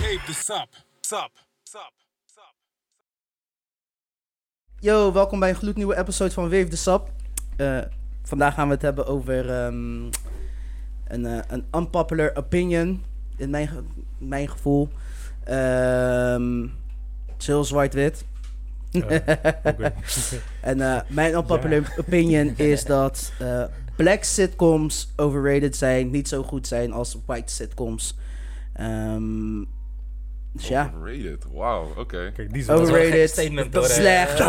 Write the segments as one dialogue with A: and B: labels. A: tape this up. Sup. Sup.
B: Yo, welkom bij een gloednieuwe episode van Wave the Sap. Eh, vandaag gaan we het hebben over ehm, een, eh, een unpopular opinion, in mijn, ge- mijn gevoel. Ehm chill zwart-wit.
C: Oké.
B: En eh, mijn unpopular opinion is dat eh, black sitcoms overrated zijn, niet zo goed zijn als white sitcoms. Ehm dus ja,
D: Overrated. Wauw, oké.
C: Kijk, die is wel
B: Overrated.
E: Overrated. Statement,
B: Dat
E: hoor,
B: is
E: hè.
B: slecht.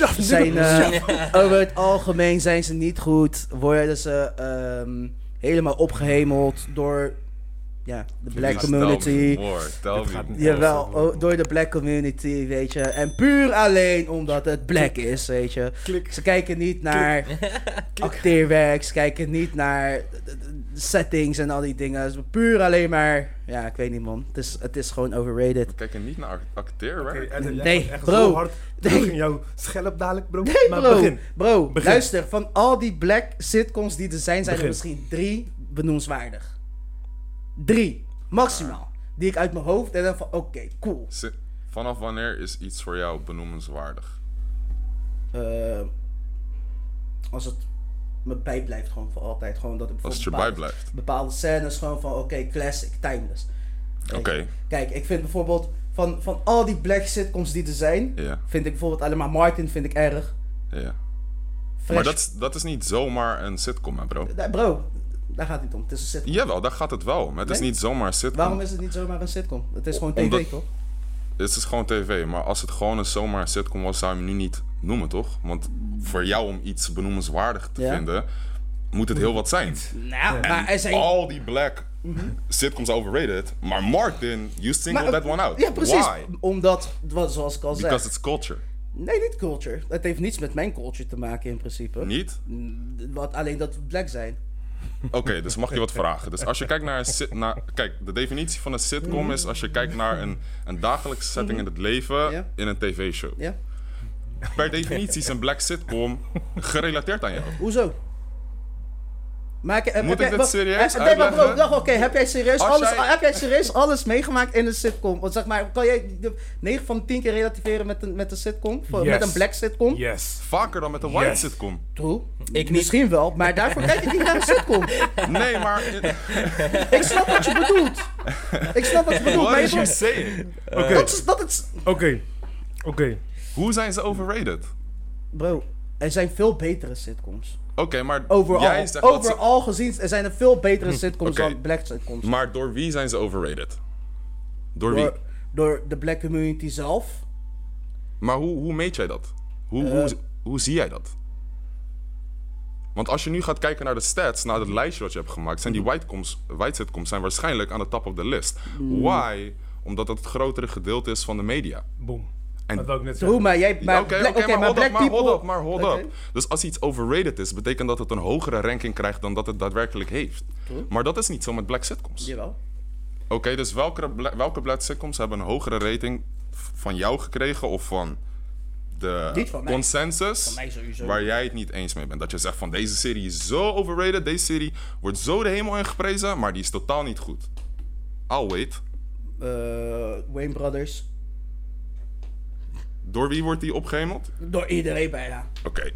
E: Eh,
B: zijn, eh, over het algemeen zijn ze niet goed. Worden ze ehm, helemaal opgehemeld door ja, de black
D: Please
B: community.
D: Tell me more. Tell
C: Het
D: me
C: gaat
D: more.
C: niet. Ja.
B: Jawel, o- door de black community, weet je. En puur alleen omdat het black is, weet je.
C: Klik.
B: Ze kijken niet naar acteerwerk, ze kijken niet naar de- de- de settings en al die dingen. Het is puur alleen maar, ja, ik weet niet man. Het is, het is gewoon overrated.
D: We kijken niet naar acteerwerk.
C: Oké, eh, en dan leg
B: Nee,
C: het echt
B: bro.
C: Zo hard
B: Nee.
C: terug in jouw schelp dadelijk, bro.
B: Nee,
C: maar
B: bro.
C: begin.
B: Bro,
C: Begin.
B: luister. Van al die black sitcoms die er zijn, zijn er
C: Begin.
B: misschien drie benoemenswaardig. Drie.
C: Ah.
B: Maximaal. Die ik uit mijn hoofd en dan van, oké, cool.
D: Ze- Vanaf wanneer is iets voor jou benoemenswaardig?
B: Eh, als het me bijblijft gewoon voor altijd. Gewoon dat ik
D: Als het je
B: bijvoorbeeld
D: bijblijft.
B: Bepaalde scènes gewoon van, oké, classic, timeless.
D: Oké.
B: Kijk, ik vind bijvoorbeeld van, van al die black sitcoms die er zijn,
D: Ja.
B: vind ik bijvoorbeeld alleen maar Martin vind ik erg.
D: Ja. Maar
B: Fresh-
D: dat, is- dat is niet zomaar een sitcom, hè, bro.
B: Nee, Bro, daar gaat het niet om. Het is een sitcom.
D: Jawel, daar gaat het wel om. Het is
B: Nee?
D: niet zomaar een sitcom.
B: Waarom is het niet zomaar een sitcom? Het is gewoon tv,
D: Omdat-
B: toch?
D: Het is gewoon tv, maar als het gewoon een zomaar sitcom was, zou je hem nu niet noemen, toch? Want voor jou om iets benoemenswaardig te
B: Ja.
D: vinden, moet het heel wat zijn.
B: Nou, maar er zijn...
D: Al die black sitcoms overrated, maar Martin, you single
B: Mhm. maar-
D: that one out.
B: Ja, precies.
D: Why?
B: Omdat, wat- zoals ik al zei...
D: Because it's culture.
B: Nee, niet culture. Het heeft niets met mijn culture te maken in principe.
D: Niet?
B: Mm, Wat, alleen dat we black zijn.
D: Oké, dus mag je wat vragen. Dus als je kijkt naar een sit, naar, kijk, de definitie van een sitcom is als je kijkt naar een, een dagelijkse setting in het leven
B: Ja.
D: in een tv-show.
B: Ja?
D: Per definitie is een black sitcom gerelateerd aan jou.
B: Hoezo? Maak, eh, heb,
D: Moet ik dit serieus
B: heb, nee, maar bro,
D: uitleggen?
B: wacht, oké. Heb jij serieus,
D: Als
B: alles,
D: jij-
B: heb jij serieus alles meegemaakt in een sitcom? Want zeg maar, kan jij 9 van de 10 keer relativeren met een, met een sitcom? Voor- Met
C: Yes.
B: een black sitcom?
C: Yes.
D: Vaker dan met een white
C: Yes.
D: sitcom.
B: True.
E: Ik niet.
B: Misschien wel, maar daarvoor kijk ik niet naar een sitcom.
D: Nee, maar...
B: Ik snap wat je bedoelt. Ik snap wat je bedoelt.
D: What
B: maar je
D: is you
B: bedoelt-
D: saying?
C: Oké,
B: dat is, dat is,
C: oké. Oké.
D: Hoe zijn ze overrated?
B: Bro, er zijn veel betere sitcoms.
D: Oké, maar
B: Overal,
D: jij zegt dat ze...
B: overal gezien, er zijn er veel betere sitcoms
D: Hm, Oké.
B: dan black sitcoms.
D: Maar door wie zijn ze overrated? Door wie?
B: Door, door de black community zelf.
D: Maar hoe, hoe meet jij dat? Hoe,
B: Eh.
D: hoe, hoe zie jij dat? Want als je nu gaat kijken naar de stats, naar het lijstje wat je hebt gemaakt, zijn die whitecoms, white sitcoms zijn waarschijnlijk aan de top of the list.
B: Hmm.
D: Why? Omdat dat het grotere gedeelte is van de media.
C: Boom.
D: En-
C: Dat wou ik net
B: True,
C: zeggen.
B: maar jij... Maar
D: Ja, Oké,
B: black-
D: oké,
B: oké,
D: maar hold
B: black
D: up, maar hold
B: people-
D: up, maar hold
B: Oké.
D: up. Dus als iets overrated is, betekent dat het een hogere ranking krijgt dan dat het daadwerkelijk heeft. Maar dat is niet zo met black sitcoms.
B: Jawel.
D: Oké, dus welke, bla- welke black sitcoms hebben een hogere rating v- van jou gekregen of van de
B: Niet van mij.
D: consensus
B: mij sowieso.
D: waar jij het niet eens mee bent? Dat je zegt van deze serie is zo overrated, deze serie wordt zo de hemel ingeprezen, maar die is totaal niet goed. I'll wait.
B: Eh, Wayne Brothers.
D: Door wie wordt die opgehemeld?
B: Door iedereen bijna.
D: Oké.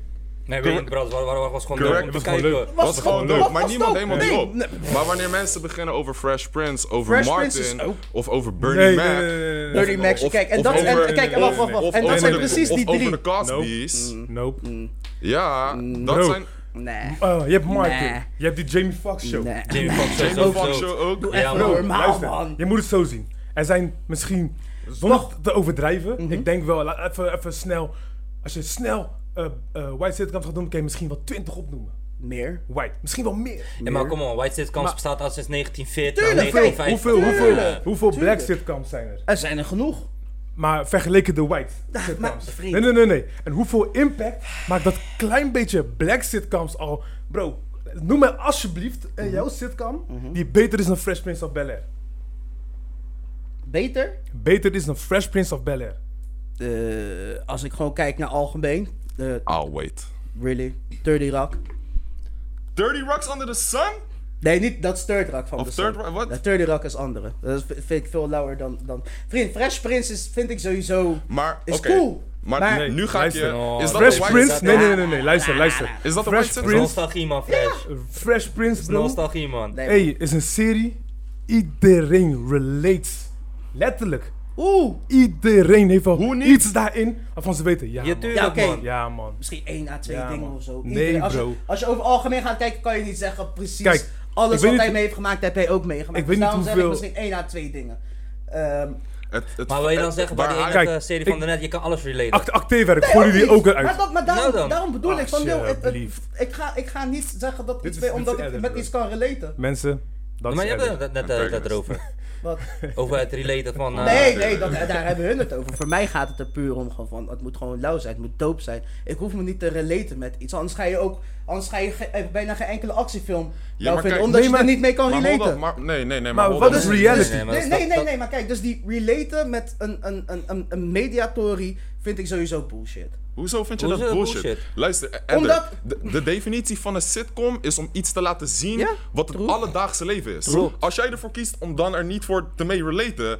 E: Nee, weet ik, bro. Waar, waar, waar was gewoon
D: Correct,
E: leuk om te
C: het was gewoon
E: kijken.
D: Dat was gewoon leuk, maar
B: was
D: niemand
B: dope.
D: helemaal
B: Nee,
D: die op.
B: nee.
D: Maar wanneer mensen beginnen over Fresh Prince, over
B: Fresh
D: Martin
B: Prince is ook-
D: of over Bernie
C: Nee,
D: Mac,
C: nee, nee, nee, nee.
B: Dirty
D: of-
B: Mac,
D: of-
B: kijk, en
D: of
B: dat- en-
D: over-
B: kijk, en wacht, wacht, wacht.
D: of
B: En dat
D: over
C: zijn
D: de-
B: precies
D: of
B: die
D: over
B: drie. Mm.
D: de Cosby's.
C: Nope.
D: Ja, dat
C: Bro.
D: zijn
B: Nee.
C: Ah, je hebt Martin.
B: Nee.
C: Je hebt die Jamie Foxx show.
B: Nee.
E: Jamie Foxx
D: Jamie
E: sowieso.
D: Foxx show ook.
B: Doe
E: Ja,
B: echt
E: bro,
B: normaal,
C: Luister,
B: man.
C: je moet het zo zien. Er zijn misschien, zonder te overdrijven, ik denk wel, la- even, even snel. Als je snel eh, eh, white sitcoms gaat doen, kan je misschien wel 20 opnoemen.
B: Meer.
C: White, misschien wel meer.
E: Ja, maar kom on, White Sitcoms bestaat al sinds 1940,
B: Tuurlijk, bro.
C: Hoeveel,
E: 1950.
C: hoeveel, hoeveel
B: Tuurlijk.
C: black sitcoms zijn er?
B: Er zijn er genoeg.
C: Maar vergeleken de white
B: maar
C: sitcoms.
B: vriend.
C: nee, nee, nee, nee. En hoeveel impact maakt dat klein beetje black sitcoms al? Bro, noem mij alsjeblieft een
D: Mhm.
C: jouw sitcom die beter is dan Fresh Prince of Bel-Air.
B: Beter?
C: Beter is dan Fresh Prince of Bel-Air.
B: Eh, als ik gewoon kijk naar algemeen. eh,
D: I'll wait.
B: really? Dirty Rock.
D: Dirty Rocks Under the Sun?
B: Nee, niet, dat is Third Rock van
D: Of
B: de
D: Third
B: Sun.
D: Rock, wat?
B: Ja, Third Rock is andere. Dat is- vind ik veel lauwer dan... dan... Vriend, Fresh Prince is, vind ik sowieso...
D: Maar,
B: Is
D: oké.
B: cool.
D: Maar,
B: Maar- Oh,
D: nee, nu ga ik je...
C: luister.
D: Is dat
C: Fresh
D: de White
C: Prince?
D: Sat-
C: Nee, nee, nee, nee, nee, luister, luister.
D: Is dat de
C: Fresh
D: White Sat-
C: Prince?
E: Nostalgie, man, Fresh.
C: Fresh Prince, bro.
E: Nostalgie, man.
B: Nee,
C: Hey, is een serie. Iedereen relates. Letterlijk.
B: Oeh!
C: Iedereen heeft wel
D: Hoe niet?
C: iets daarin waarvan ze weten. Ja,
E: Ja,
C: man.
E: tuurlijk,
B: Ja, oké.
E: man.
C: Ja, man.
B: Misschien één à twee
C: Ja,
B: dingen
C: man.
B: of zo.
C: Nee,
B: Iedereen- als
C: bro.
B: Je, als je over het algemeen gaat kijken, kan je niet zeggen precies...
C: Kijk, ik
B: alles
C: weet
B: wat
C: niet-
B: hij mee heeft gemaakt, heb jij ook meegemaakt.
C: Ik weet
B: Dus
C: niet
B: daarom zeg
C: hoeveel-
B: ik misschien één à twee dingen. Ehm,
D: Het, het,
E: Maar wil je dan
D: het-
E: zeggen, bij
D: waar
E: die
D: hij-
E: ene
C: Kijk,
E: eh, serie
C: ik-
E: van daarnet, je kan alles relaten.
C: Act acteerwerk gooien jullie ook
B: niet.
C: uit.
B: Maar, dat, maar daarom,
E: Nou dan.
B: daarom bedoel ik van, joh, het- het-
C: Alsjeblieft.
B: ik, ga, ik ga niet zeggen dat iets
C: is-
B: mee,
C: dit
B: omdat
C: is
B: ik
C: edit,
B: met
C: bro.
B: iets kan relaten.
C: Mensen, dat
E: maar
C: is
E: je
C: edit.
E: hebt het net eh,
D: Antagonist.
E: net erover.
B: Wat?
E: Over het relaten van... eh,
B: Nee, nee, dat, daar hebben hun het over. Voor mij gaat het er puur om gewoon van, het moet gewoon lauw zijn, het moet dope zijn. Ik hoef me niet te relaten met iets, anders ga je ook, anders ga je ge- eh, bijna geen enkele actiefilm lauw
D: maar
B: vinden,
D: kijk,
B: omdat
C: nee,
B: je er
C: maar-
B: niet mee kan
D: maar hold
B: relaten. Oh,
D: up, maar- nee, nee, nee.
C: Maar
D: hold
C: wat
D: up.
C: is reality?
E: Nee, nee, maar
B: Nee,
E: dat-
B: nee, nee,
E: dat-
B: nee, maar kijk, dus die relaten met een, een, een, een, een mediatory vind ik sowieso bullshit.
D: Hoezo vind je
E: Hoezo
D: dat bullshit?
E: bullshit?
D: Luister, Ender,
B: Omdat-
D: de, de definitie van een sitcom is om iets te laten zien
B: Ja,
D: wat het alledaagse leven is. Als jij ervoor kiest om dan er niet voor te mee relaten,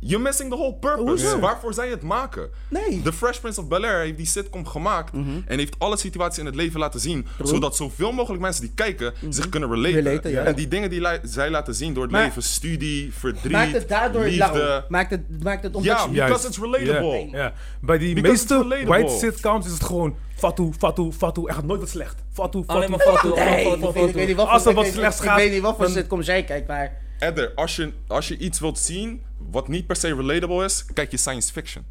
D: you're missing the whole purpose.
B: Hoezo?
D: Waarvoor zij het maken?
B: Nee. Mhm.
D: The Fresh Prince of Bel-Air heeft die sitcom gemaakt en heeft alle situaties in het leven laten zien, zodat zoveel mogelijk mensen die kijken zich kunnen relaten.
B: Mhm. Relaten, ja.
D: En die dingen die li- zij laten zien door het
C: Maar-
D: leven, studie, verdriet,
B: Maakt het daardoor lauw.
D: liefde.
B: Maakt het, maakt het omdat
D: Ja,
B: je...
D: because it's relatable.
C: Ja, ja. Bij die
D: Because it's
C: meeste
D: relatable.
C: white sitcoms is het gewoon fatu, fatu, fatu. Er gaat nooit wat slecht. Fatu, fatu.
E: Alleen maar foto,
B: Nee,
E: foto,
B: ik weet- ik weet
E: foto.
B: niet wat
C: Als er
B: voor- ik
C: wat
B: weet-
C: slechts
B: ik
C: gaat,
B: weet niet wat voor
C: dan-
B: sitcoms jij kijkt, maar...
D: Edder, als je, als je iets wilt zien wat niet per se relatable is, kijk je science fiction.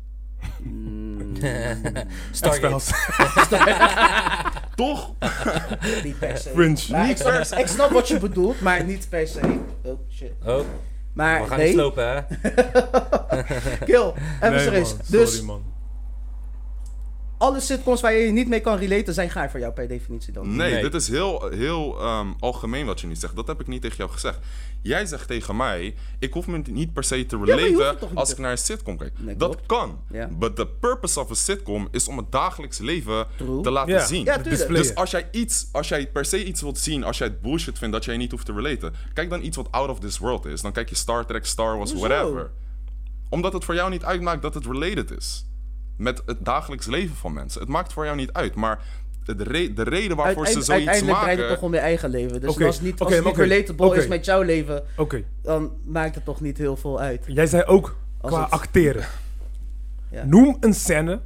E: Stargate.
C: Spels.
D: Toch?
B: Niet per se.
C: Fringe.
B: Maar
C: Niet
B: ik, snap, ik snap wat je bedoelt, maar niet per se. Oh shit.
E: Oh,
B: Maar
E: we gaan niet
B: nee,
E: slopen, hè?
B: kill. Even
C: Nee, man.
B: serieus.
C: Sorry,
B: Dus
C: man.
B: alle sitcoms waar je je niet mee kan relaten zijn gaar voor jou per definitie dan.
D: Nee,
E: Nee.
D: dit is heel, heel ehm, algemeen wat je nu zegt. Dat heb ik niet tegen jou gezegd. Jij zegt tegen mij, ik hoef me niet per se
B: je
D: te
B: hoeft het
D: relaten
B: toch niet
D: als
B: te-
D: ik naar een sitcom kijk.
B: Nee,
D: dat
B: klopt.
D: kan.
B: Ja.
D: But the purpose of a sitcom is om het dagelijks leven
B: True.
D: te laten
C: Ja,
D: zien.
B: Ja,
C: het
B: tuurlijk.
C: display.
D: Dus als jij, iets, als jij per se iets wilt zien, als jij het bullshit vindt dat jij niet hoeft te relaten, kijk dan iets wat out of this world is. Dan kijk je Star Trek, Star Wars,
B: Hoezo?
D: whatever. Omdat het voor jou niet uitmaakt dat het related is. Met het dagelijks leven van mensen. Het maakt voor jou niet uit. Maar het re- de reden waarvoor
B: Uiteind-
D: ze zoiets
B: uiteindelijk draait het toch
D: maken.
B: om je eigen leven. Dus
C: Oké,
B: als het niet, als
C: oké,
B: het niet
C: maar oké,
B: relatable
C: oké.
B: is met jouw leven,
C: Oké.
B: dan maakt het toch niet heel veel uit.
C: Jij zei ook qua
B: het-
C: acteren.
B: Ja.
C: Noem een scène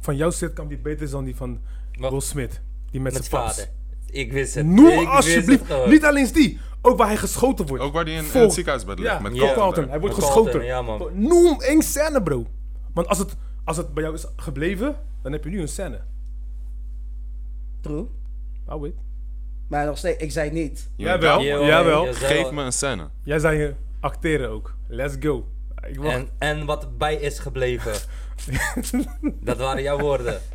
C: van jouw sitcom die beter is dan die van
E: Wacht.
C: Will Smith. Die met,
E: Met
C: zijn vader.
E: vader. Ik wist het. Ik
C: Noem
E: wist het
C: alsjeblieft.
E: gewoon.
C: Niet alleen die. Ook waar hij geschoten wordt.
D: Ook waar die in, in
C: Vol.
D: het ziekenhuisbed ligt.
C: Ja,
D: Met
E: Ja.
D: Carlton
C: Carlton.
D: daar.
C: Hij wordt
E: Met
C: geschoten.
E: Carlton, ja, man.
C: Noem één scène, bro. Want als het, als het bij jou is gebleven, dan heb je nu een scène.
B: True.
C: Oh, wait.
B: Maar nog steeds, ik zei niet.
C: Jawel.
E: Jawel,
C: Jawel.
E: jawel.
D: Geef me een scène.
C: Jij zei eh, acteren ook. Let's go. Ik wacht.
E: En, en wat bij is gebleven. dat waren jouw woorden.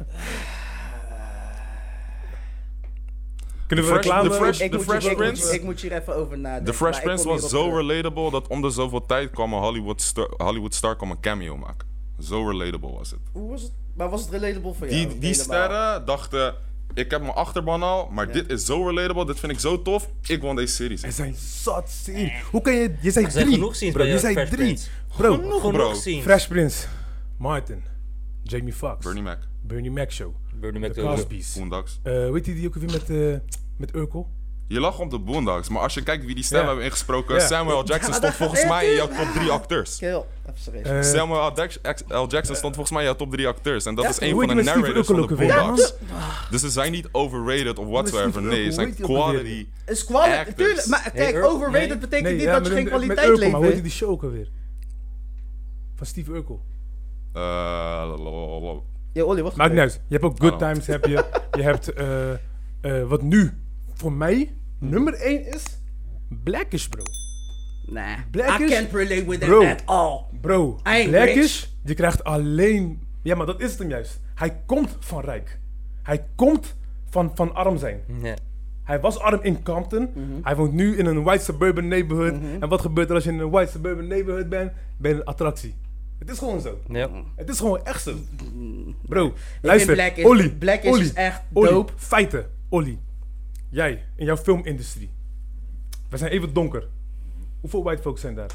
C: Kunnen we
D: Fresh-
C: reclame?
D: de Fresh-
B: Ik moet,
D: Fresh
B: hier, ik, moet,
D: Prince?
B: ik moet hier even over nadenken.
D: The Fresh
B: maar ik
D: Prince
B: kom
D: was
B: hierop
D: zo
B: terug.
D: relatable dat om de zoveel tijd kwam een Hollywood star, Hollywood star kwam een cameo maken. Zo relatable was het.
B: Hoe was het? Maar was het relatable voor jou?
D: Die, die
B: Helemaal.
D: sterren dachten, ik heb mijn achterban al, maar dit is zo relatable, dit vind ik zo tof, ik wil deze serie zien.
C: Er zijn zat zien. Hoe kan je... Je zei
E: zijn
C: drie.
E: genoeg scenes
C: bro.
E: bij
C: Je
E: jou,
C: zei
E: Fresh
C: drie.
E: Prince.
C: Bro.
D: Genoeg, bro.
E: Genoeg zien.
C: Fresh Prince. Martin. Jamie Foxx.
D: Bernie Mac,
C: Bernie Mac Show.
E: Bernie Mac
C: De
E: ook.
C: Cosby's.
D: Boondocks.
C: Eh, weet je die ook weer met, eh met Urkel?
D: Je lag om de Boondocks, maar als je kijkt wie die stem
C: Ja.
D: hebben ingesproken,
C: Ja.
D: Samuel L. Jackson stond volgens mij in jouw top drie acteurs.
B: Kill. Even serieus.
C: Eh,
D: Samuel L. Dax- L. Jackson stond volgens mij in jouw top drie acteurs. En dat is een
C: hoe
D: van de
C: heet die met Steve
D: narrators van de
C: Urkel ook alweer,
D: Boondocks. Dus ze zijn niet overrated of whatsoever.
C: Steve
D: Nee, ze
C: Urkel,
D: zijn
C: hoe heet die ook alweer?
D: quality. eh,
B: Is quality,
D: actors.
B: tuurlijk. Maar kijk,
E: Urkel,
B: overrated
E: nee.
B: betekent niet
C: ja,
B: dat je
C: met-
B: geen
C: met-
B: kwaliteit
C: met Urkel, Maar hoe heet
B: levert.
C: die show ook alweer? Van Steve Urkel.
D: Eh, lalalala.
B: Ja, Olly, wacht
C: Maakt
B: even.
C: niet uit. Je hebt ook Good
D: Oh.
C: Times. Heb je, je hebt eh, eh, wat nu voor mij nummer 1 is. Blackish, bro.
B: Nah.
C: Blackish?
B: I can't relate with
C: Bro.
B: them at all.
C: Bro,
B: Ain't
C: Blackish, je krijgt alleen... Ja, maar dat is het hem juist. Hij komt van rijk. Hij komt van, van arm zijn.
E: Ja.
C: Hij was arm in Compton.
B: Mhm.
C: Hij woont nu in een white suburban neighborhood. En wat gebeurt er als je in een white suburban neighborhood bent? Ben je een attractie. Het is gewoon zo.
E: Ja.
C: Het is gewoon echt zo. Bro,
B: Black
C: luister.
B: is-
C: Olly.
B: Black is
C: Olly,
B: dus echt
C: Olly,
B: dope.
C: Feiten. Olly. Jij, in jouw filmindustrie. We zijn even donker. Hoeveel white folks zijn daar?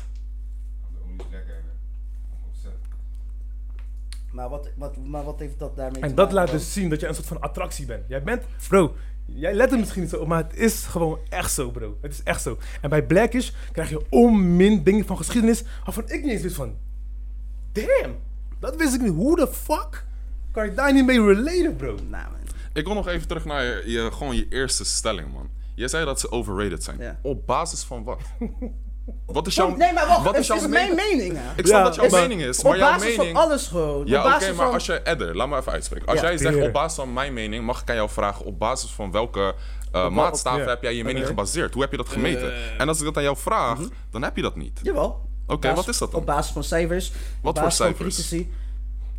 B: Maar wat, wat, maar wat heeft dat daarmee
C: En
B: te
C: dat
B: maken,
C: laat
B: bro?
C: dus zien dat je een soort van attractie bent. Jij bent, bro, jij let er misschien niet zo op, maar het is gewoon echt zo, bro. Het is echt zo. En bij Blackish krijg je onmin dingen van geschiedenis waarvan ik niet eens wist van. Damn, dat wist ik niet. Hoe de fuck kan je daar niet mee relaten, bro?
B: Nou, man.
D: Ik wil nog even terug naar je, je- gewoon je eerste stelling, man. Jij zei dat ze overrated zijn.
B: Ja.
D: Op basis van wat? wat is jouw
B: nee, maar wacht,
D: wat
B: het is,
D: jouw
B: mijn
D: mening?
B: mening, hè.
D: Ik snap
C: Ja,
D: dat jouw
C: maar-
D: mening is,
B: Op
D: maar jouw
B: basis
D: mening...
B: van alles gewoon.
D: Ja,
B: op
D: oké,
B: basis
D: maar
B: van...
D: als jij, Edder, laat me even uitspreken. Als
B: Ja,
D: jij zegt
C: tuurlijk.
D: op basis van mijn mening, mag ik aan jou vragen op basis van welke eh maatstaven
C: ja.
D: heb jij je mening
C: Oké.
D: gebaseerd? Hoe heb je dat gemeten?
B: Eh.
D: en als ik dat aan jou vraag,
B: Mhm.
D: dan heb je dat niet.
B: Jawel. Oké,
D: wat is dat dan?
B: Op basis van cijfers.
D: Wat voor cijfers?
B: Critici.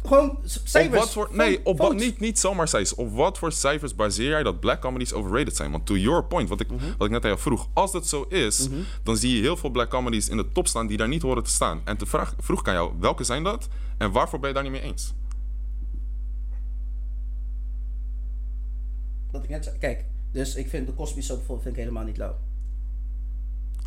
B: Gewoon c-
D: Op
B: cijfers.
D: wat voor,
B: van
D: nee, op wat,
B: votes.
D: niet, niet zomaar cijfers. Op wat voor cijfers baseer jij dat black comedies overrated zijn? Want to your point, wat ik,
B: Mhm.
D: wat ik net aan jou vroeg. Als dat zo is, dan zie je heel veel black comedies in de top staan die daar niet horen te staan. En te vraag, vroeg ik aan jou, welke zijn dat? En waarvoor ben je daar niet mee eens?
B: Dat ik net zei. Kijk, dus ik vind de Cosby Soap bijvoorbeeld vind ik helemaal niet lauw.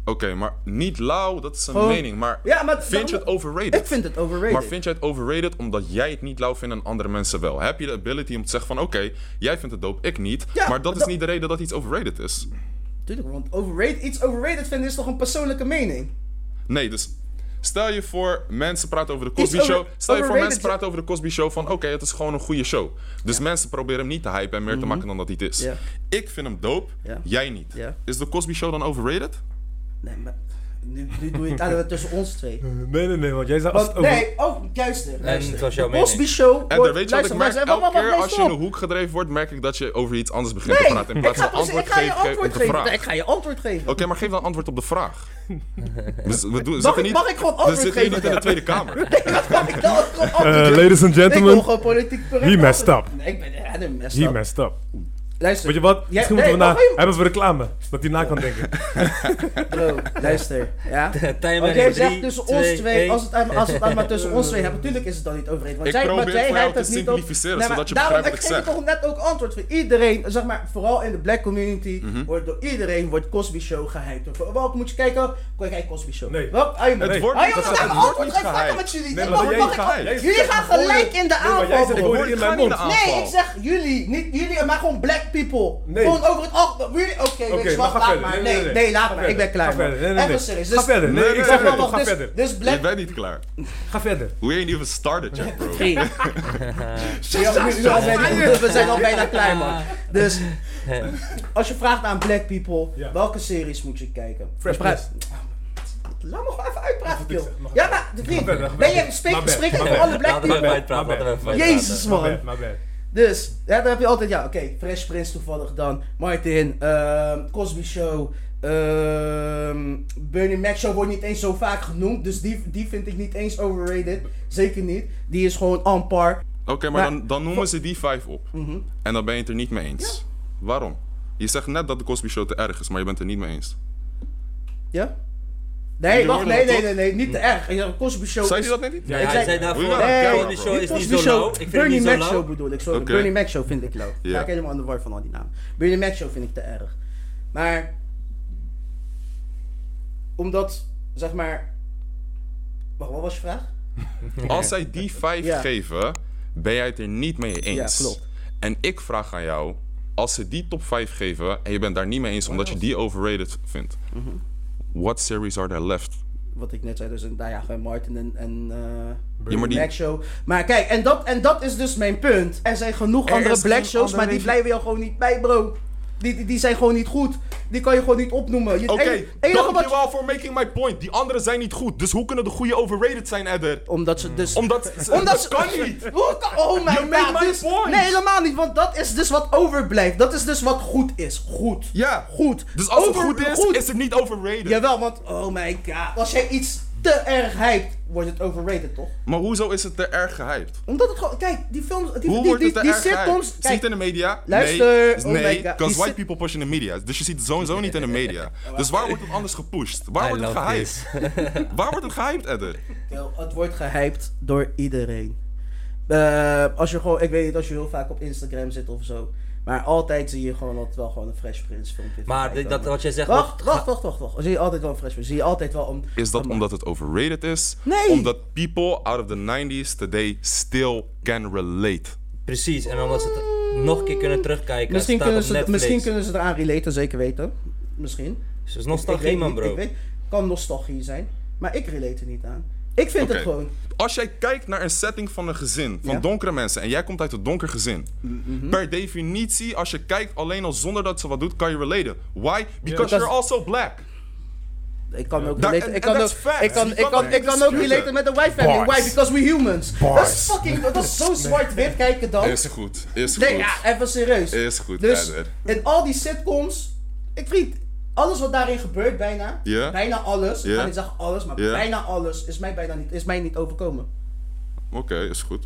D: Oké, maar niet lauw, dat is een
B: Gewoon-
D: mening. Maar,
B: Ja, maar
D: vind je het
B: daarom-
D: overrated?
B: Ik vind het overrated.
D: Maar vind jij het overrated omdat jij het niet lauw vindt en andere mensen wel? Heb je de ability om te zeggen van oké, jij vindt het dope, ik niet.
B: Ja,
D: maar dat is
B: dat-
D: niet de reden dat iets overrated is.
B: Tuurlijk, want overrated, iets overrated vinden is toch een persoonlijke mening?
D: Nee, dus stel je voor mensen praten over de Cosby
B: over-
D: Show. Stel je voor
B: overrated
D: mensen
B: is-
D: praten over de Cosby Show van oké, het is gewoon een goede show. Dus mensen proberen hem niet te hypen en meer te maken dan dat hij het is.
B: Mhm. Ja.
D: Ik vind hem dope,
B: Ja.
D: jij niet.
B: Ja.
D: Is de Cosby Show dan overrated?
B: Nee, maar nu, nu doe je het aan tussen ons twee.
C: Nee, nee, nee, want jij zei als
B: Want,
C: het over-
B: nee, oh, luister. luister.
E: het was jouw
B: de
E: mening.
B: Cosby Show
D: En
B: wordt-
D: dan weet je wat ik
B: luister,
D: merk.
B: luister,
D: Elke
B: wacht, wacht,
D: keer
B: wacht,
D: als je in de
B: stop.
D: hoek gedreven wordt, merk ik dat je over iets anders begint te praten. In
B: Nee, ik
D: plaats
B: ga,
D: van
B: precies-
D: antwoord
B: ik ga je
D: geven geef,
B: antwoord
D: op de
B: geven.
D: vraag.
B: Ik ga je antwoord geven.
D: Oké, maar geef dan antwoord op de vraag. Dus We, we doen,
B: Mag
D: zitten
B: ik-
D: niet,
B: mag ik gewoon
D: We
B: antwoord
D: zitten hier
B: geven
D: niet in de
B: dan?
D: Tweede Kamer.
B: Nee, dat kan ik dan ook gewoon antwoord
C: Eh,
B: geven.
C: ladies and
B: Ik wil
C: gentlemen,
B: gewoon politiek correct.
C: he messed
B: antwoord-
C: up.
B: Nee, ik ben hij messed
C: he
B: up.
C: messed up.
B: Luister.
C: Weet je wat?
B: Ja,
C: Misschien
B: nee,
C: moeten we na...
B: wacht even.
C: Hebben we reclame, dat hij na kan denken.
B: Bro, luister. Ja?
E: Timer
B: Want
E: in
B: jij
E: drie,
B: zegt tussen ons
E: twee,
B: twee,
E: één.
B: als het, aan- als het aan maar tussen ons twee hebben, natuurlijk is het dan niet overeen. Want
D: Ik
B: jij,
D: probeer
B: maar jij
D: voor jou
B: hebt het
D: te
B: niet op-
D: simplificeren,
B: Nee, maar
D: zodat je
B: daarom,
D: begrijpt wat ik
B: geef toch net ook antwoord voor iedereen, zeg maar, vooral in de black community,
D: Mhm.
B: wordt door iedereen wordt Cosby Show gehyped. Voor Welk moet je kijken? Kijk, kijk Cosby Show.
C: Nee.
B: Welk? Ah, je moet-
C: Nee.
D: wordt
B: Ah,
D: niet-
B: jongens,
D: het
B: ik
D: wordt
B: antwoord
D: niet
B: geef vaker
D: gehyped.
B: met jullie.
C: Nee,
B: Ik
C: maar
B: mag-
C: jij
B: mag ik-
C: gaat- jij
B: Jullie
C: zegt-
B: gaan gelijk in de
C: Nee, maar
B: aanval.
C: jij
B: bro.
C: zegt- Ik hoor het in
D: Ik ga
C: mijn
D: niet
C: mond.
D: naar
B: Nee,
D: aanval.
B: ik zeg jullie, niet jullie, maar gewoon black people.
C: Nee.
B: Gewoon over het algemeen. Really? Oké,
C: Oké,
B: weet je
C: maar
B: wat,
C: ga
B: laat
C: verder.
B: maar.
C: Nee,
B: Nee,
C: nee,
B: nee,
C: nee.
B: laat
C: Ga
B: maar, ik ben
C: verder.
B: klaar.
C: Ga
B: man.
C: verder. Nee, nee, nee.
B: Even serieus.
C: Ga verder. Nee,
D: ik
B: ik
D: ga
B: zeg
D: verder.
B: nog,
C: Ga
B: dus,
C: verder.
B: dus
D: Ik
B: black
D: ben niet klaar.
C: Ga verder.
D: We ain't even started yet, bro.
B: Hey. Ja, we zijn al bijna- We zijn al bijna klaar, man. Dus als je vraagt aan black people,
C: Ja.
B: welke series moet je kijken?
C: Fresh
B: Dan praat- Ah,
C: Prince.
B: Laat me gewoon even uitpraten,
C: ik
B: joh.
C: zeggen? Mag ik
B: Ja, maar vriend,
C: verder, ga
B: ben je
C: verder.
B: spreek,
C: Maar ben-
B: spreek ik
C: maar
B: voor
C: ben-
B: alle black
E: Laten we even
B: people?
E: uitpraten, laten we even uitpraten.
B: Jezus,
C: Maar
B: man.
C: bad, maar bad.
B: Dus, ja, dan heb je altijd, ja, oké, Fresh Prince toevallig dan, Martin, ehm, Cosby Show, ehm Bernie Mac Show wordt niet eens zo vaak genoemd, dus die, die vind ik niet eens overrated, zeker niet. Die is gewoon on par.
D: Oké, maar
B: Maar- Mhm.
D: dan, dan noemen ze die vijf op. En dan ben je het er niet mee eens. Waarom? Je zegt net dat de Cosby Show te erg is, maar je bent het er niet mee eens.
B: Ja? Nee, wacht,
D: hoorden
B: nee,
D: dat
B: nee,
D: toch?
B: nee, nee, niet te erg. Je zegt, Cosby Show
D: Zei
B: is...
D: je dat net niet?
E: Ja, hij
B: zei-
E: zei daarvoor,
D: Nee.
E: de Cosby show is
B: Cosby
E: niet zo
B: Show,
E: low. Ik vind
B: Bernie
E: hem niet
B: Mac
E: zo
B: Show
E: low.
B: bedoel ik, sorry.
D: Oké.
B: Bernie Mac Show vind ik low.
D: Ja.
B: Ga ik helemaal aan de war van al die namen. Bernie Mac Show vind ik te erg. Maar... Omdat, zeg maar... Wacht, wat was je vraag?
D: Als zij die vijf
B: Ja.
D: geven, ben jij het er niet mee eens.
B: Ja, klopt.
D: En ik vraag aan jou, als ze die top vijf geven en je bent daar niet mee eens omdat je die overrated vindt,
B: Mhm.
D: what series are there left?
B: Wat ik net zei, dus een, nou ja, gewoon Martin en, en eh
D: Ja, maar die-
B: Black Show. Maar kijk, en dat, en dat is dus mijn punt. Er zijn genoeg
D: Er
B: andere
D: is
B: Black
D: geen
B: Shows,
D: andere
B: maar die
D: reden.
B: blijven jou gewoon niet bij, bro. Die, die, die zijn gewoon niet goed. Die kan je gewoon niet opnoemen. Je-
D: Oké,
B: en- enige wat-
D: dankjewel voor making my point. Die anderen zijn niet goed, dus hoe kunnen de goede overrated zijn, Edder?
B: Omdat ze dus...
D: Omdat,
B: Omdat ze-
D: dat kan niet.
B: Hoe kan- Oh my
D: You make
B: god.
D: my
B: dus-
D: point.
B: nee, helemaal niet. Want dat is dus wat overblijft. Dat is dus wat goed is. Goed.
D: Ja.
B: Goed.
D: Dus als
B: Over-
D: het goed is, is het niet overrated.
B: Jawel, want oh my god. Als jij iets te erg hypt, wordt het overrated, toch?
D: Maar hoezo is het te erg gehyped?
B: Omdat het gewoon... Kijk, die films... Die,
D: Hoe
B: die,
D: wordt
B: die,
D: het te
B: die
D: erg
B: sitcoms...
D: gehyped? Zie je
B: Kijk,
D: het in de media?
B: Luister, oh
D: Nee,
B: my
D: nee,
B: God.
D: because
B: Die
D: white
B: sit-
D: people push in the media. Dus je ziet het sowieso niet in de media. Dus waar wordt het anders gepusht? Waar
E: I
D: wordt het
E: love
D: gehyped? Waar wordt het gehyped, Edder?
B: Wel, Het wordt gehyped Ehm, door iedereen. Eh, als je gewoon, ik weet niet, als je heel vaak op Instagram zit of zo. Maar altijd zie je gewoon altijd wel gewoon een Fresh Prince filmpje.
E: Maar
B: voorbij
E: dit- dat,
B: komen.
E: wat jij zegt...
B: Wacht,
E: wat-
B: wacht, wacht, wacht, wacht. Zie je altijd wel een Fresh Prince. Zie je altijd wel om...
D: Is dat
B: om-
D: omdat het overrated is?
B: Nee.
D: Omdat people out of the 90s today still can relate.
E: Precies, en omdat ze het nog een keer kunnen terugkijken.
B: Misschien
E: het staat
B: kunnen,
E: op
B: ze,
E: Netflix. Dus
B: misschien kunnen ze eraan relaten, zeker weten. Misschien.
E: Het is
B: Ik-
E: nostalgie,
B: ik weet
E: man,
B: niet,
E: bro.
B: Ik weet, kan nostalgie zijn, maar ik relate er niet aan. Ik vind het
D: Oké.
B: gewoon...
D: Als jij kijkt naar een setting van een gezin, van
B: Ja. Mhm.
D: donkere mensen, en jij komt uit een donker gezin. Per definitie, als je kijkt alleen al zonder dat ze wat doet, kan je relaten. Why? Because
B: Dat-
D: you're also black.
B: Ik kan ook
D: Daar-
B: relaten.
D: en-
B: Ik
D: en
B: kan ook,
D: that's facts.
B: ik kan,
D: Die
B: ik
D: kan
B: kan,
D: dat
B: ik
D: niet
B: kan ook
D: dispuuten.
B: relaten met de white family.
D: Bars.
B: Why? Because we humans. Dat is
C: Bars.
B: fucking, dat is zo zwart-wit kijken dan.
D: Is goed, is
B: Nee,
D: goed.
B: ja, even serieus.
D: Is goed,
B: Dus
D: Edward.
B: in al die sitcoms, ik vriend, alles wat daarin gebeurt bijna,
D: Ja.
B: bijna alles, ik
D: Ja.
B: ga niet zeggen alles, maar
D: Ja.
B: bijna alles is mij bijna niet, is mij niet overkomen. eh-
D: Oké, is goed.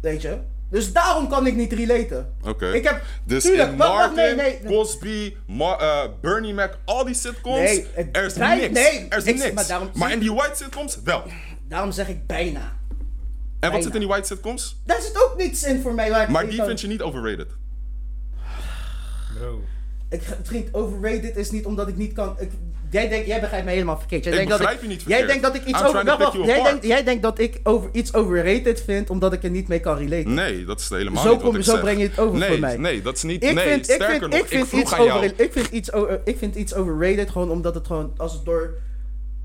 B: Weet je? Dus daarom kan ik niet relaten.
D: Oké.
B: Ik heb,
D: dus
B: tuurlijk,
D: in
B: wacht, wacht,
D: Martin,
B: nee, nee. nee.
D: Cosby, Ma- eh, Bernie Mac, al die sitcoms,
B: Nee, het
D: er is
B: draait-
D: niks.
B: nee,
D: er is
B: ik-
D: niks.
B: maar
D: Maar,
B: daarom-
D: in die white sitcoms wel.
B: Daarom zeg ik bijna.
D: En wat zit in die white sitcoms?
B: Daar zit ook niets in voor mij. Waar ik
D: Maar
B: in
D: die
B: kan.
D: vind je niet overrated.
C: Bro.
B: Ik, vriend, overrated is niet omdat ik niet kan. Ik, jij, denkt, jij begrijpt mij helemaal verkeerd. Jij
D: Ik
B: denkt
D: begrijp
B: dat
D: je
B: ik,
D: niet
B: Jij
D: verkeerd.
B: denkt dat ik iets
D: I'm
B: over.
D: trying to
B: wacht,
D: pick
B: wacht.
D: you
B: jij,
D: apart.
B: denkt, jij denkt dat ik over, iets overrated vind omdat ik er niet mee kan relaten.
D: Nee, dat is helemaal
B: Zo
D: niet
B: kom-
D: wat ik
B: zo
D: zeg.
B: breng je het over
D: nee,
B: voor mij.
D: Nee, dat is niet...
B: Ik
D: nee,
B: vind, ik
D: sterker
B: vind,
D: nog,
B: ik vind,
D: vroeg
B: iets
D: aan jou...
B: over, ik vind iets over, ik vind iets overrated gewoon omdat het gewoon als het door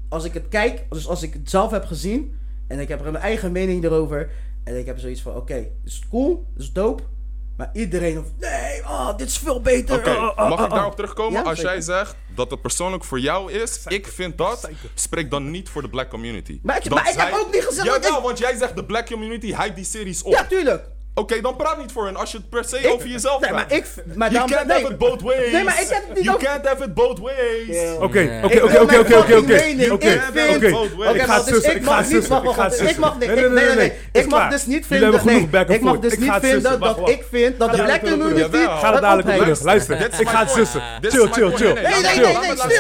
B: als ik het kijk, dus als ik het zelf heb gezien en ik heb er mijn eigen mening erover en ik heb zoiets van oké, dit is cool, dit is dope, maar iedereen of nee, oh, dit is veel beter.
D: Oké,
B: oh, oh,
D: mag
B: oh,
D: ik
B: oh.
D: daarop terugkomen?
B: Ja,
D: Als jij
B: zeker.
D: zegt dat het persoonlijk voor jou is, ik vind dat, spreek dan niet voor de black community.
B: Maar ik-
D: Dan
B: maar ik heb
D: zij-
B: ook niet gezegd dat
D: Jawel,
B: ik-
D: want jij zegt de black community hype die series op.
B: Ja, tuurlijk.
D: Oké, dan praat niet voor hen als je het per se
B: Ik-
D: over jezelf
B: nee,
D: praat.
B: maar ik- maar
D: you
B: daarom-
D: can't
B: nee.
D: have it both ways.
B: Nee, maar ik heb het niet
D: You
B: over-
D: can't have it both ways.
C: Oké,
E: Nee.
C: oké,
B: Ik
C: oké,
B: wil
C: oké,
B: mijn
C: oké, oké,
B: fucking
C: oké.
B: mening.
C: Oké,
B: Ik vind-
C: oké.
D: Oké,
B: Oké,
C: Ik ga
B: maar
C: het
B: dus
C: zussen,
B: ik
C: ik ga
B: mag
C: het
B: niet,
C: zussen,
B: wacht,
C: ik ga het
B: wacht, ik
C: zussen.
B: mag niet,
C: Nee, nee,
B: ik-
C: nee,
B: nee,
C: nee,
B: nee,
C: nee.
B: ik
C: Is
B: mag
C: klaar.
B: dus niet
C: Jullie hebben
B: vinden, nee,
C: genoeg back and
B: ik mag
C: forth.
B: dus
C: Ik
B: niet
C: ga het
B: vinden
C: zussen,
B: dat
C: wacht,
B: ik vind dat de
C: Jawel.
B: black community
D: Jawel.
C: Ga er dadelijk op
B: het
C: terug,
B: opheft.
C: luister.
D: Dit is
C: Ik
D: mijn
C: ga het
D: point.
C: zussen.
D: Dit is
C: Chill,
D: mijn
C: chill,
D: point.
C: chill.
D: Nee,
B: Nee,
D: Laat
B: nee,
D: me-
B: nee,
D: laat
B: nee,
D: me- laat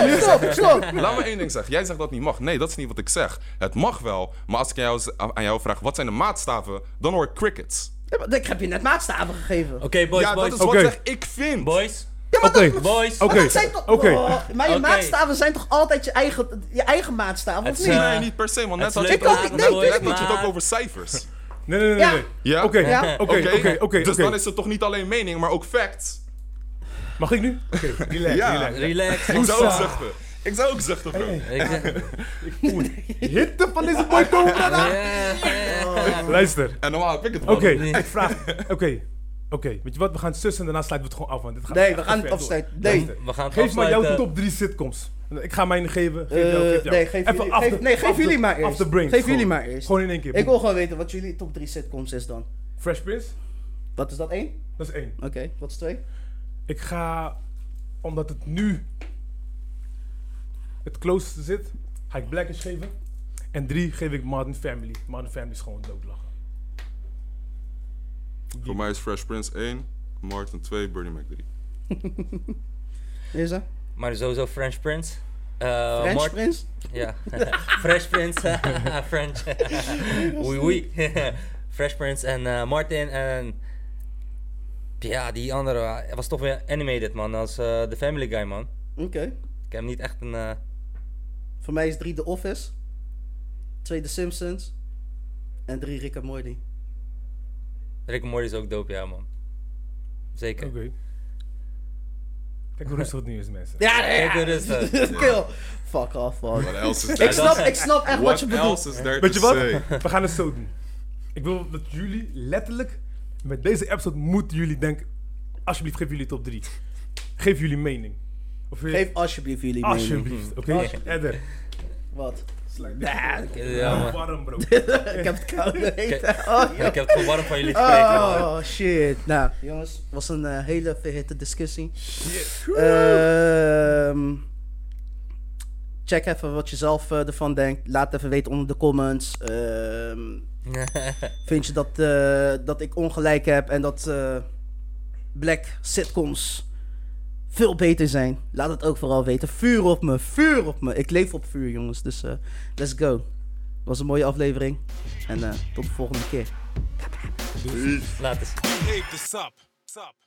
D: me-
B: stil, stop, stop.
D: Laat me één ding zeggen. Jij zegt dat het niet mag. Nee, dat is niet wat ik zeg. Het mag wel, maar als ik aan jou, aan jou vraag wat zijn de maatstaven, dan hoor ik crickets.
B: Ja, maar Ik heb je net maatstaven gegeven.
E: Oké, boys,
D: ja,
E: boys.
D: dat is
C: Oké.
D: wat zeg ik vind.
E: Boys,
B: Ja, maar
C: Oké.
B: dat-
E: boys.
C: Oké.
B: Dat zijn toch,
C: Oké.
B: Oh, maar je
E: Oké.
B: maatstaven zijn toch altijd je eigen, je eigen maatstaven, of
E: Het
B: niet?
E: zijn-
D: Nee, niet per se, want net
E: Het
D: had
E: is
D: je
E: leuk
D: het ook-
E: praten,
D: net-
E: boys,
D: net had je het
E: maar-
D: ook over cijfers.
C: Nee, nee, nee,
B: Ja.
C: nee.
D: Ja?
C: Oké,
B: Ja.
C: oké, oké, oké.
D: Dus
C: oké.
D: dan is het toch niet alleen mening, maar ook facts.
C: Mag ik nu? Oké, relax,
D: Ja.
C: relax.
E: relax.
D: Ik zou ook
E: Hossa.
D: zuchten. Ik zou ook zuchten, bro.
E: Ik zeg-
C: Hitte van deze boy komen daarna. Luister.
D: En normaal heb ik het
C: Oké,
D: wel.
C: ik vraag. Oké, oké. Weet je wat? We gaan zussen en daarna sluiten we het gewoon af. Want dit gaat
B: Nee,
C: echt
B: we gaan
C: ver
B: het
C: door.
B: afsluiten. Nee.
C: Luister,
E: We gaan het
C: Geef maar jouw
E: afsluiten.
C: top 3 sitcoms. Ik ga mijn geven. Geef
B: Eh,
C: jou, geef jou.
B: nee, geef
C: Even
B: jullie-
C: af
B: geef-
C: de-
B: nee, geef
C: af de-
B: jullie maar eerst.
C: Af de brains.
B: Geef
C: gewoon.
B: jullie maar eerst.
C: Gewoon in één keer.
B: Ik wil gewoon weten wat jullie top 3 sitcoms is dan.
C: Fresh Prince,
B: Wat is dat, één?
C: dat is één.
B: Oké, wat is twee?
C: Ik ga, omdat het nu het closest zit, ga ik Blackish geven. En drie geef ik Modern Family. Modern Family is gewoon doodlachen.
D: Voor mij is Fresh Prince 1, Martin 2, Bernie Mac 3.
B: Deze?
E: Maar sowieso French Prince. Eh,
B: French
E: Mart-
B: Prince?
E: Ja. Fresh Prince. French. oei oei. Fresh Prince en eh, Martin en... Ja, die andere eh, was toch weer animated, man. Als eh The Family Guy, man.
B: Oké.
E: Ik heb niet echt een... eh,
B: Voor mij is drie The Office. Twee The Simpsons. En drie Rick and Morty.
E: Rick and Morty is ook dope, ja, man. Zeker.
C: Oké. Kijk hoe rustig het nu is, mensen.
B: Ja, nee,
E: Kijk hoe rustig.
B: Kill. Fuck off, man.
D: What else is
B: Ik
D: there?
B: snap, ik snap echt wat
D: What
B: je bedoelt.
D: else is there
C: Weet je
D: to
C: wat?
D: say?
C: We gaan het zo doen. Ik wil dat jullie letterlijk, met deze episode moeten jullie denken, alsjeblieft geef jullie top 3. Geef jullie mening. Of je-
B: Geef alsjeblieft jullie mening.
C: alsjeblieft, oké?
B: Alsjeblieft.
C: Edder.
B: Wat?
E: Ja, man.
C: Warm bro.
B: Ik heb het koude eten.
E: Kijk.
B: Oh, joh.
E: Ik heb het gewoon warm van jullie gekregen, man.
B: Oh shit. Nou, jongens, het was een eh, hele verhitte discussie.
C: Shit.
B: Ehm, check even wat je zelf eh, ervan denkt. Laat even weten onder de comments. Ehm, vind je dat, eh, dat ik ongelijk heb en dat eh, black sitcoms veel beter zijn? Laat het ook vooral weten. Vuur op me, vuur op me. Ik leef op vuur, jongens. Dus eh, let's go. Was een mooie aflevering. En eh, tot de volgende keer.
E: Laat eens.
A: Behave the sup. Sup.